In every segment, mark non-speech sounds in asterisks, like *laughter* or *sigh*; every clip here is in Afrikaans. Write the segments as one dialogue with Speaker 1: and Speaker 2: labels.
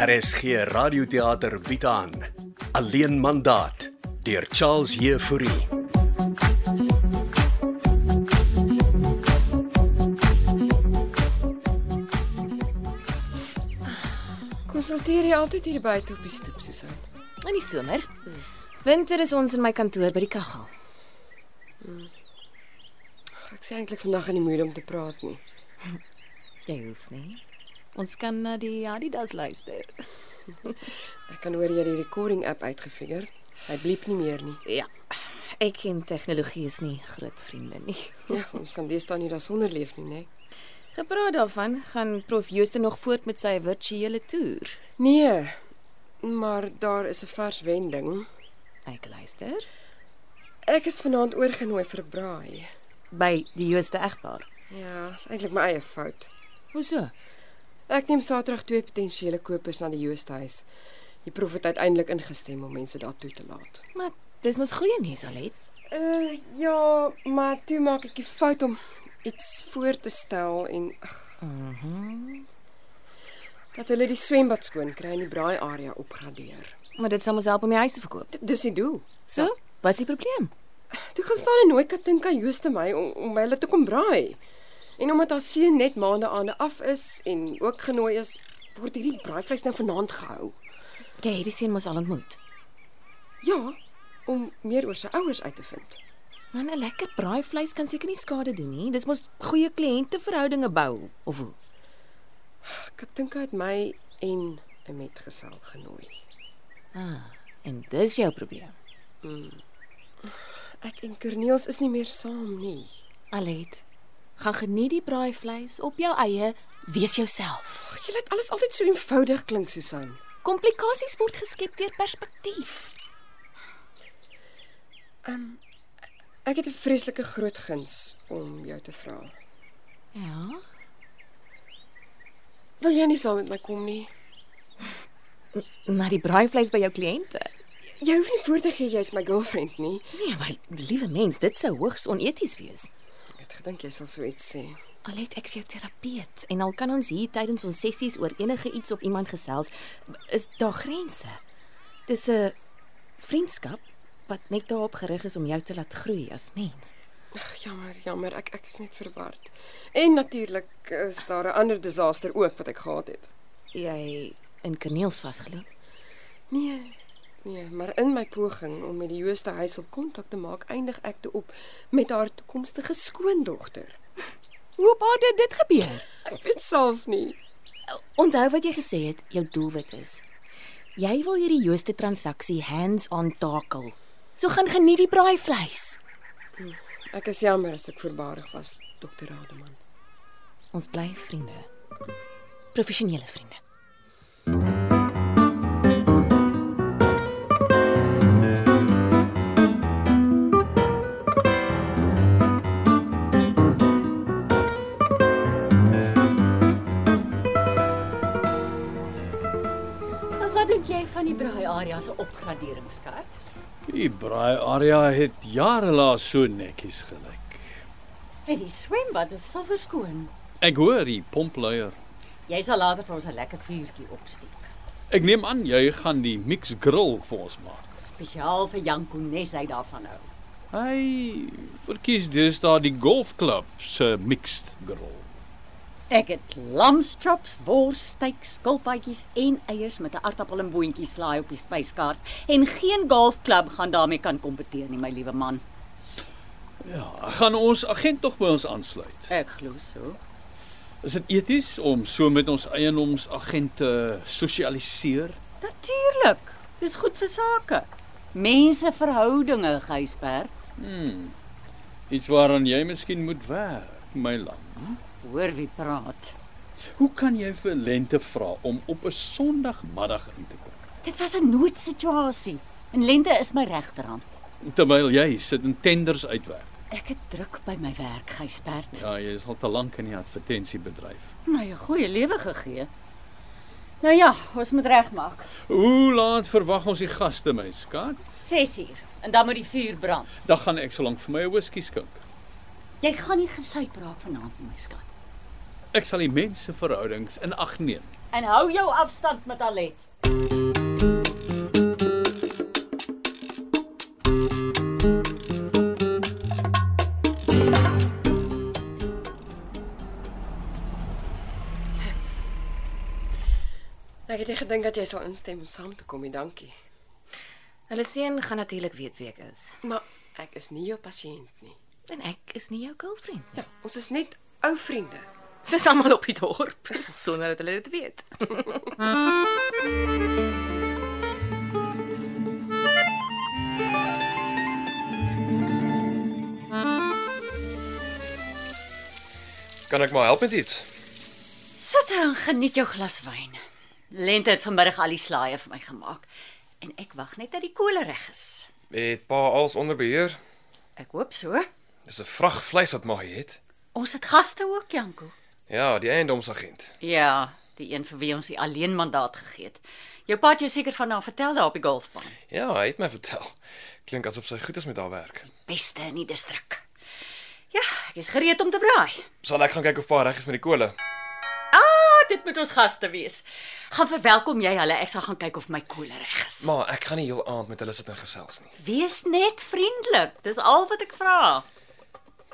Speaker 1: RSG Radioteater bied aan Alleen mandaat deur Charles Heffouri.
Speaker 2: Konsulteer jy altyd hier buite op die stoep, Susan?
Speaker 3: In die somer. Winter is ons in my kantoor by die kaggel.
Speaker 2: Ek sê eintlik vandag in die moed om te praat nie.
Speaker 3: Jy hoef nie. Ons kan na die Adidas luister.
Speaker 2: Ek kan hoor jy het die recording app uitgefigure. Hy bliep nie meer nie.
Speaker 3: Ja. Ek en tegnologie is nie groot vriende nie.
Speaker 2: Ja, *laughs* ons kan deesdae nie daarsonder leef nie, né?
Speaker 3: Gepraat daarvan, gaan Prof Jooste nog voort met sy virtuele toer.
Speaker 2: Nee. Maar daar is 'n vars wending.
Speaker 3: Ek luister
Speaker 2: Ek is vanaand oorgenooi vir 'n braai.
Speaker 3: by die Jooste egpaar.
Speaker 2: Ja, is eintlik my eie fout.
Speaker 3: Hoe so?
Speaker 2: Ek neem Saterdag twee potensiële kopers na die Joosthuis. Die prof het uiteindelik ingestem om mense daartoe te laat.
Speaker 3: Maar dis mos goeie nuus Alet.
Speaker 2: Uh ja, maar toe maak ek die fout om iets voor te stel en ag. Mhm. Dat hulle die swembad skoon kry en die braai area opgradeer.
Speaker 3: Maar dit sal ons help om die huis te verkoop.
Speaker 2: Dit dis die doel.
Speaker 3: So, wat is die probleem?
Speaker 2: Toe gaan staan en nooi Katinka Jooste my om, om by hulle te kom braai. En omdat haar seun net maande aande af is en ook genooi is, word hierdie braaivleis nou vanaand gehou.
Speaker 3: Jy het die seun mos al ontmoet.
Speaker 2: Ja, om meer oor sy ouers uit te vind.
Speaker 3: Man, 'n lekker braaivleis kan seker nie skade doen nie. Dis mos goeie kliënteverhoudinge bou of hoe?
Speaker 2: Katinka het my en 'n metgesel genooi.
Speaker 3: Ah, en dis jou probleem.
Speaker 2: Ek en Corneels is nie meer saam nie.
Speaker 3: Alet, gaan geniet die braaivleis op jou eie, wees jouself.
Speaker 2: Ag, jy laat alles altyd so eenvoudig klink, Susan.
Speaker 3: Komplikasies word geskep deur perspektief.
Speaker 2: Ek het 'n vreeslike groot guns om jou te vra.
Speaker 3: Ja.
Speaker 2: Wil jy nie saam met my kom nie?
Speaker 3: Na die braaivleis by jou kliënte.
Speaker 2: Jy hoef nie voor te gee jy's my girlfriend nie.
Speaker 3: Nee, maar liewe mens, dit sou hoogs oneties wees.
Speaker 2: Ek het gedink jy sal so iets sê.
Speaker 3: Alet, ek's jou terapeut en al kan ons hier tydens ons sessies oor enige iets of iemand gesels, is daar grense. Dis 'n vriendskap wat net daarop gerig is om jou te laat groei as mens.
Speaker 2: Ag, jammer, jammer, ek ek is net verward. En natuurlik is daar 'n ander disaster ook wat ek gehad het.
Speaker 3: Jy in kaneels vasgeloop.
Speaker 2: Nee. Nee, maar in my poging om met die Jooste huis op kontak te maak, eindig ek toe op met haar toekomstige skoondogter.
Speaker 3: Hoe op aarde het dit gebeur?
Speaker 2: Ek weet self nie.
Speaker 3: Onthou wat jy gesê het, jou doelwit is. Jy wil hierdie Jooste transaksie hands-on takel. So gaan geniet die braai vleis.
Speaker 2: Ek is jammer as ek voorbarig was, dokter Rademan.
Speaker 3: Ons bly vriende. Professionele vriende.
Speaker 4: Maar Wat dink jy van die braai area se opgraderingskaart?
Speaker 5: Die braai area het jare laas so netjies gelyk.
Speaker 4: En die swembad is silwer skoon.
Speaker 5: Ek hoor die pompluier.
Speaker 4: Jy sal later vir ons 'n lekker vuurtjie opsteek.
Speaker 5: Ek neem aan jy gaan die mix grill vir ons maak.
Speaker 4: Spesiaal vir Janko Nes hy daarvan hou.
Speaker 5: Hy verkies dis daar die golfklub se mixed grill.
Speaker 4: Ek het lamschops, worssteak, skilpaatjies en eiers met 'n aartappel en boontjie slaai op die spyskaart en geen golfklub gaan daarmee kan kompeteer nie, my liewe man.
Speaker 5: Ja, gaan ons agent tog by ons aansluit.
Speaker 4: Ek glo so.
Speaker 5: Is dit eties om so met ons eienoomsagente sosialiseer?
Speaker 4: Natuurlik. Dis goed vir sake. Menseverhoudinge, Gysbert.
Speaker 5: Hmm. Iets waaraan jy miskien moet werk, my land.
Speaker 4: Hoor wie praat.
Speaker 5: Hoe kan jy vir Lente vra om op 'n Sondagmiddag in te kom?
Speaker 4: Dit was 'n noodsituasie. En lente is my regterhand.
Speaker 5: terwyl jy sit en tenders uitwerk.
Speaker 4: Ek het druk by my werk, Gysbert. Ja.
Speaker 5: Ja, jy is al te lank in die advertensiebedryf.
Speaker 4: My 'n Nou ja, goeie lewe gegee. Nou ja, ons moet regmaak.
Speaker 5: Hoe laat verwag ons die gaste, my skat?
Speaker 4: 6 uur en dan moet die vuur brand.
Speaker 5: Dan gaan ek so lank vir my 'n whisky skink.
Speaker 4: Jy gaan nie gesuip raak vanaand, my skat.
Speaker 5: Ek sal die mense verhoudings in ag neem.
Speaker 4: en hou jou afstand met Alet.
Speaker 2: Ek het nie gedink dat jy sal instem om saam te kom nie, dankie.
Speaker 3: Hulle seun gaan natuurlik weet wie ek is.
Speaker 2: Maar ek is nie jou pasiënt nie.
Speaker 3: En ek is nie jou girlfriend nie.
Speaker 2: Ja, ons is net ou vriende.
Speaker 3: Soos almal op die dorp *laughs* sonder dat hulle dit weet.
Speaker 6: Kan ek maar help met iets?
Speaker 4: Sit en geniet jou glas wyn. Lente het vanmiddag al die slaaië vir my gemaak en ek wag net dat die kolle reg is.
Speaker 6: Het pa alles onder beheer?
Speaker 4: Ek hoop so.
Speaker 6: Dis 'n vrag vleis wat Maggie het.
Speaker 4: Ons het gaste ook, Janko.
Speaker 6: Ja, die eiendomsagent.
Speaker 4: Ja, die een vir wie ons die alleen mandaat gegee het. Jou pa het jou seker van haar vertel daar op die golfbaan.
Speaker 6: Ja, hy het my vertel. Klink asof sy goed is met haar werk.
Speaker 4: Beste in die distrik. Ja, ek is gereed om te braai.
Speaker 6: Sal ek gaan kyk of pa reg is met die kole?
Speaker 4: Ah, dit moet ons gaste wees. Gaan verwelkom jy hulle. Ek sal gaan kyk of my kolle reg is.
Speaker 6: Maar ek gaan nie heel aand met hulle sit en gesels nie.
Speaker 4: Wees net vriendelik. Dis al wat ek vra.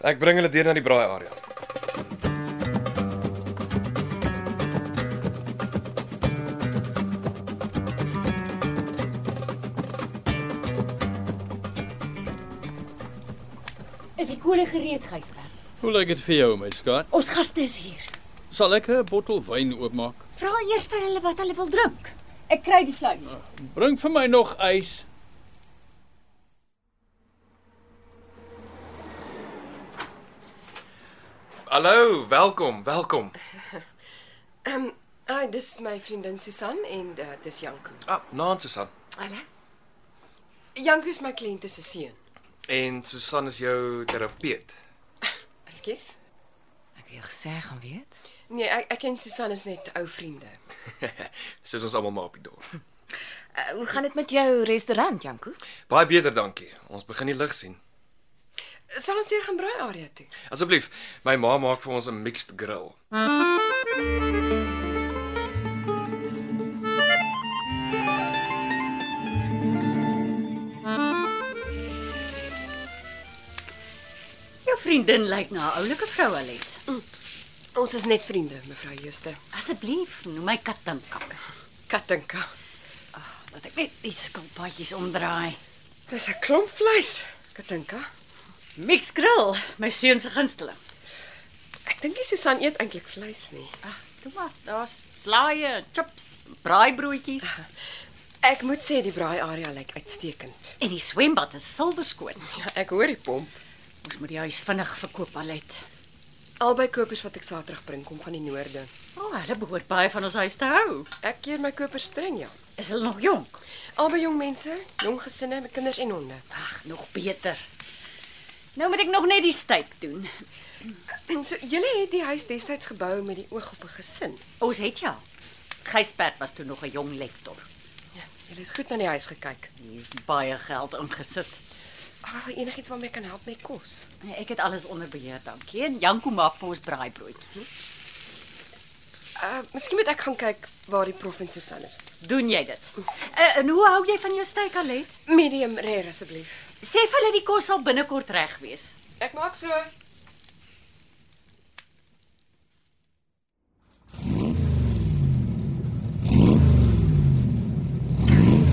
Speaker 6: Ek bring hulle deur na die braaiarea.
Speaker 4: Is die kolle gereed, Gysberg?
Speaker 5: Hoe lyk dit vir jou, my skat?
Speaker 4: Ons gaste is hier.
Speaker 5: Sal ek 'n bottel wyn oopmaak?
Speaker 4: Vra eers vir hulle wat hulle wil drink. Ek kry die vleis.
Speaker 5: Ah, Bring vir my nog ys.
Speaker 6: Hallo, welkom, welkom.
Speaker 2: Ehm, um, ah, dis my vriendin Susan en uh, dis Janko.
Speaker 6: Ah, naam Susan.
Speaker 2: Hallo. Janko is my kliënt se seun.
Speaker 6: En Susan is jou terapeut.
Speaker 2: Ekskuus.
Speaker 3: Ek het jou gesê ek gaan weet.
Speaker 2: Nee, ek ek en Susan is net ou vriende.
Speaker 6: Soos ons almal maar op die dorp.
Speaker 3: Uh, hoe gaan dit met jou restaurant, Janko?
Speaker 6: Baie beter, dankie. Ons begin die lig sien.
Speaker 2: Sal ons deur gaan braai area toe?
Speaker 6: Asseblief, my ma maak vir ons 'n mixed grill.
Speaker 4: Jou vriendin lyk na 'n oulike vrou Alet.
Speaker 2: Ons is net vriende, mevrou Jooste.
Speaker 4: Asseblief, noem my Katinka.
Speaker 2: Katinka.
Speaker 4: Dat ek net die skilpaadjies omdraai.
Speaker 2: Dis 'n klomp vleis, Katinka.
Speaker 4: Mix grill, my seun se gunsteling.
Speaker 2: Ek dink nie Susan eet eintlik vleis nie.
Speaker 4: Ag, toe maar, daar's slaaië, chips, braaibroodjies
Speaker 2: Ek moet sê die braai area lyk uitstekend.
Speaker 4: en die swembad is silverskoon.
Speaker 2: Ja, ek hoor die pomp.
Speaker 4: Ons moet die huis vinnig verkoop Alet.
Speaker 2: Albei kopers wat ek saterdag bring kom van die noorde.
Speaker 4: O, oh, hulle behoort baie van ons huis te hou.
Speaker 2: Ek keer my kopers streng ja.
Speaker 4: Is hulle nog jonk?
Speaker 2: Albei jong mense, jong gesinne met kinders en honde. *clears throat*
Speaker 4: Ag, nog beter. Nou moet ek nog net die steak doen.
Speaker 2: En so julle het die huis destyds gebou met die oog op 'n gesin.
Speaker 4: Ons het ja. Gysbert was toe nog 'n jong lektor.
Speaker 2: Ja, julle het goed na die huis gekyk.
Speaker 4: Hier is baie geld ingesit.
Speaker 2: Ag, as daar enigiets waarmee ek kan help met kos.
Speaker 4: Nee, Ek het alles onder beheer, dankie. En Janko maak vir ons braaibroodjies.
Speaker 2: Uh, miskien moet ek gaan kyk waar die prof en Susan is.
Speaker 4: Doen jy dit? Uh, en hoe hou jy van jou steak alet?
Speaker 2: Medium rare asseblief.
Speaker 4: Sê vir hulle die kos sal binnekort reg wees.
Speaker 2: Ek maak so.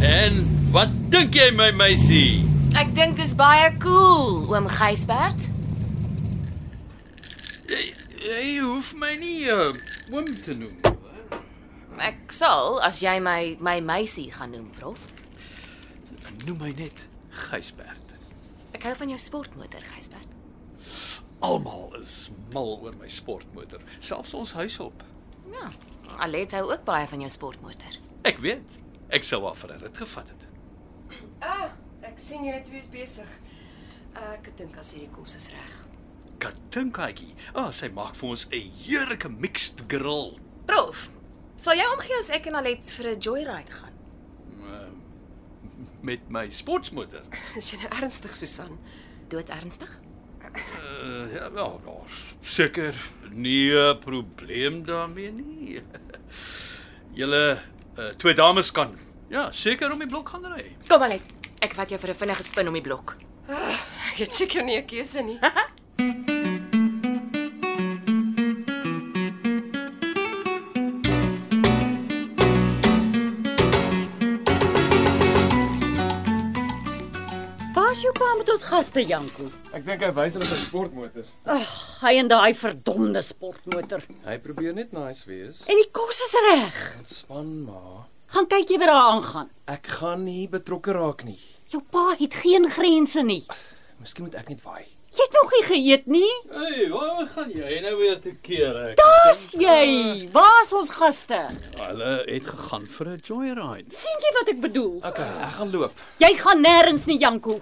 Speaker 5: En wat dink jy my meisie?
Speaker 3: Ek dink dis baie cool, oom Gysbert.
Speaker 5: Jy, jy hoef my nie uh, oom te noem.
Speaker 3: Ek sal as jy my my meisie gaan noem, prof.
Speaker 5: Noem my net Gysbert.
Speaker 3: Ek hou van jou sportmotor, Gysbert.
Speaker 5: Almal is mal oor my sportmotor, selfs ons huishulp.
Speaker 3: Ja. Alet hou ook baie van jou sportmotor.
Speaker 5: Ek weet, ek sou haar vir 'n rit gevat het.
Speaker 2: Ah, ek sien julle twee is besig. Ah, Ek dink as hierdie kos is reg.
Speaker 5: Katinkaatjie, ah, sy maak vir ons 'n heerlike mixed grill.
Speaker 3: Prof, sal jy omgee as ek en Alet vir 'n joyride gaan?
Speaker 5: Uh, met my sportmotor.
Speaker 2: Is jy nou ernstig, Susan?
Speaker 3: Dood ernstig?
Speaker 5: Uh, ja, wel, daar's seker nie 'n probleem daarmee nie. *laughs* Julle uh, twee dames kan. Ja, seker om die blok gaan ry.
Speaker 3: Kom maar net. Ek vat jou vir 'n vinnige spin om die blok.
Speaker 2: Ek het seker nie 'n keuse nie.
Speaker 4: Waar's jou pa met ons gaste Janko?
Speaker 7: Ek dink hy wys hulle sy sportmotor.
Speaker 4: Hy en daai verdomde sportmotor.
Speaker 7: Hy probeer net nice wees.
Speaker 4: En die kos is reg.
Speaker 7: Ontspan maar.
Speaker 4: Gaan kyk jy wat daar aangaan.
Speaker 7: Ek gaan nie betrokke raak nie.
Speaker 4: Jou pa het geen grense nie.
Speaker 7: Miskien moet ek net waai.
Speaker 4: Jy het nog nie geëet nie.
Speaker 5: Hey, waar gaan jy nou weer te keer? Ek?
Speaker 4: Daar's jy. Waar's ons gaste?
Speaker 5: Hulle het gegaan vir 'n joyride.
Speaker 4: sien jy wat ek bedoel?
Speaker 7: Okay, ek gaan loop.
Speaker 4: Jy gaan nêrens nie Janko.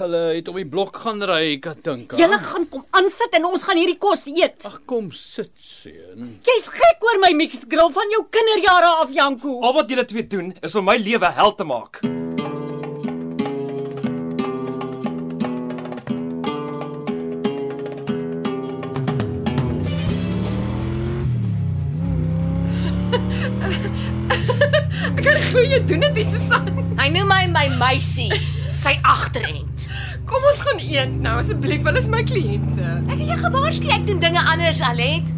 Speaker 5: Hulle het op die blok gaan ry, Katinka.
Speaker 4: Julle gaan kom aansit en ons gaan hierdie kos eet.
Speaker 5: Ag kom sit seun.
Speaker 4: Jy's gek oor my mixed grill van jou kinderjare af Janko.
Speaker 7: Al wat julle twee doen is om my lewe hel te maak.
Speaker 2: *laughs* Ek kan nie glo jy doen dit, nie, Susan.
Speaker 3: Hy noem my my meisie, *laughs* sy agterend.
Speaker 2: Kom ons gaan eet nou asseblief. Hulle is my kliënte.
Speaker 3: Ek het jou gewaarsku, ek doen dinge anders, Alet.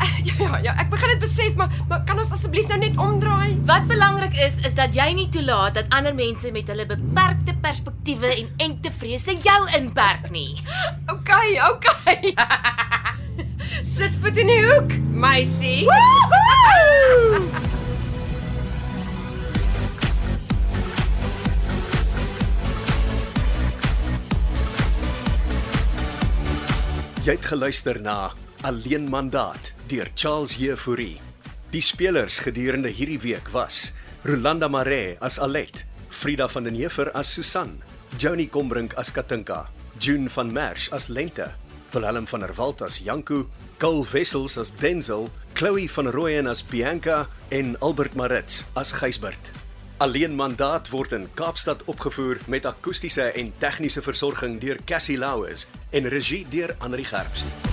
Speaker 2: Ja, ja, ja, ek begin dit besef, maar, maar kan ons asseblief nou net omdraai?
Speaker 3: Wat belangrik is, is dat jy nie toelaat dat ander mense met hulle beperkte perspektiewe en enkte vrese jou inperk nie.
Speaker 2: OK, OK. Sit voet in die hoek, meisie.
Speaker 1: Jy het geluister na Alleen Mandaat deur Charles Heffouri. Die spelers gedurende hierdie week was Rolanda Maree as Alet, Frida van den Heever as Susan, Johnny Combrink as Katinka, June van Merch as Lente, Willem van der Walt as Janku, Kul Wessels as Denzel, Chloe van Rooyen as Bianca en Albert Maritz as Gysbert. Alleen Mandaat word in Kaapstad opgevoer met akoestiese en tegniese versorging deur Cassie Louws en regie deur Anri Gerbst.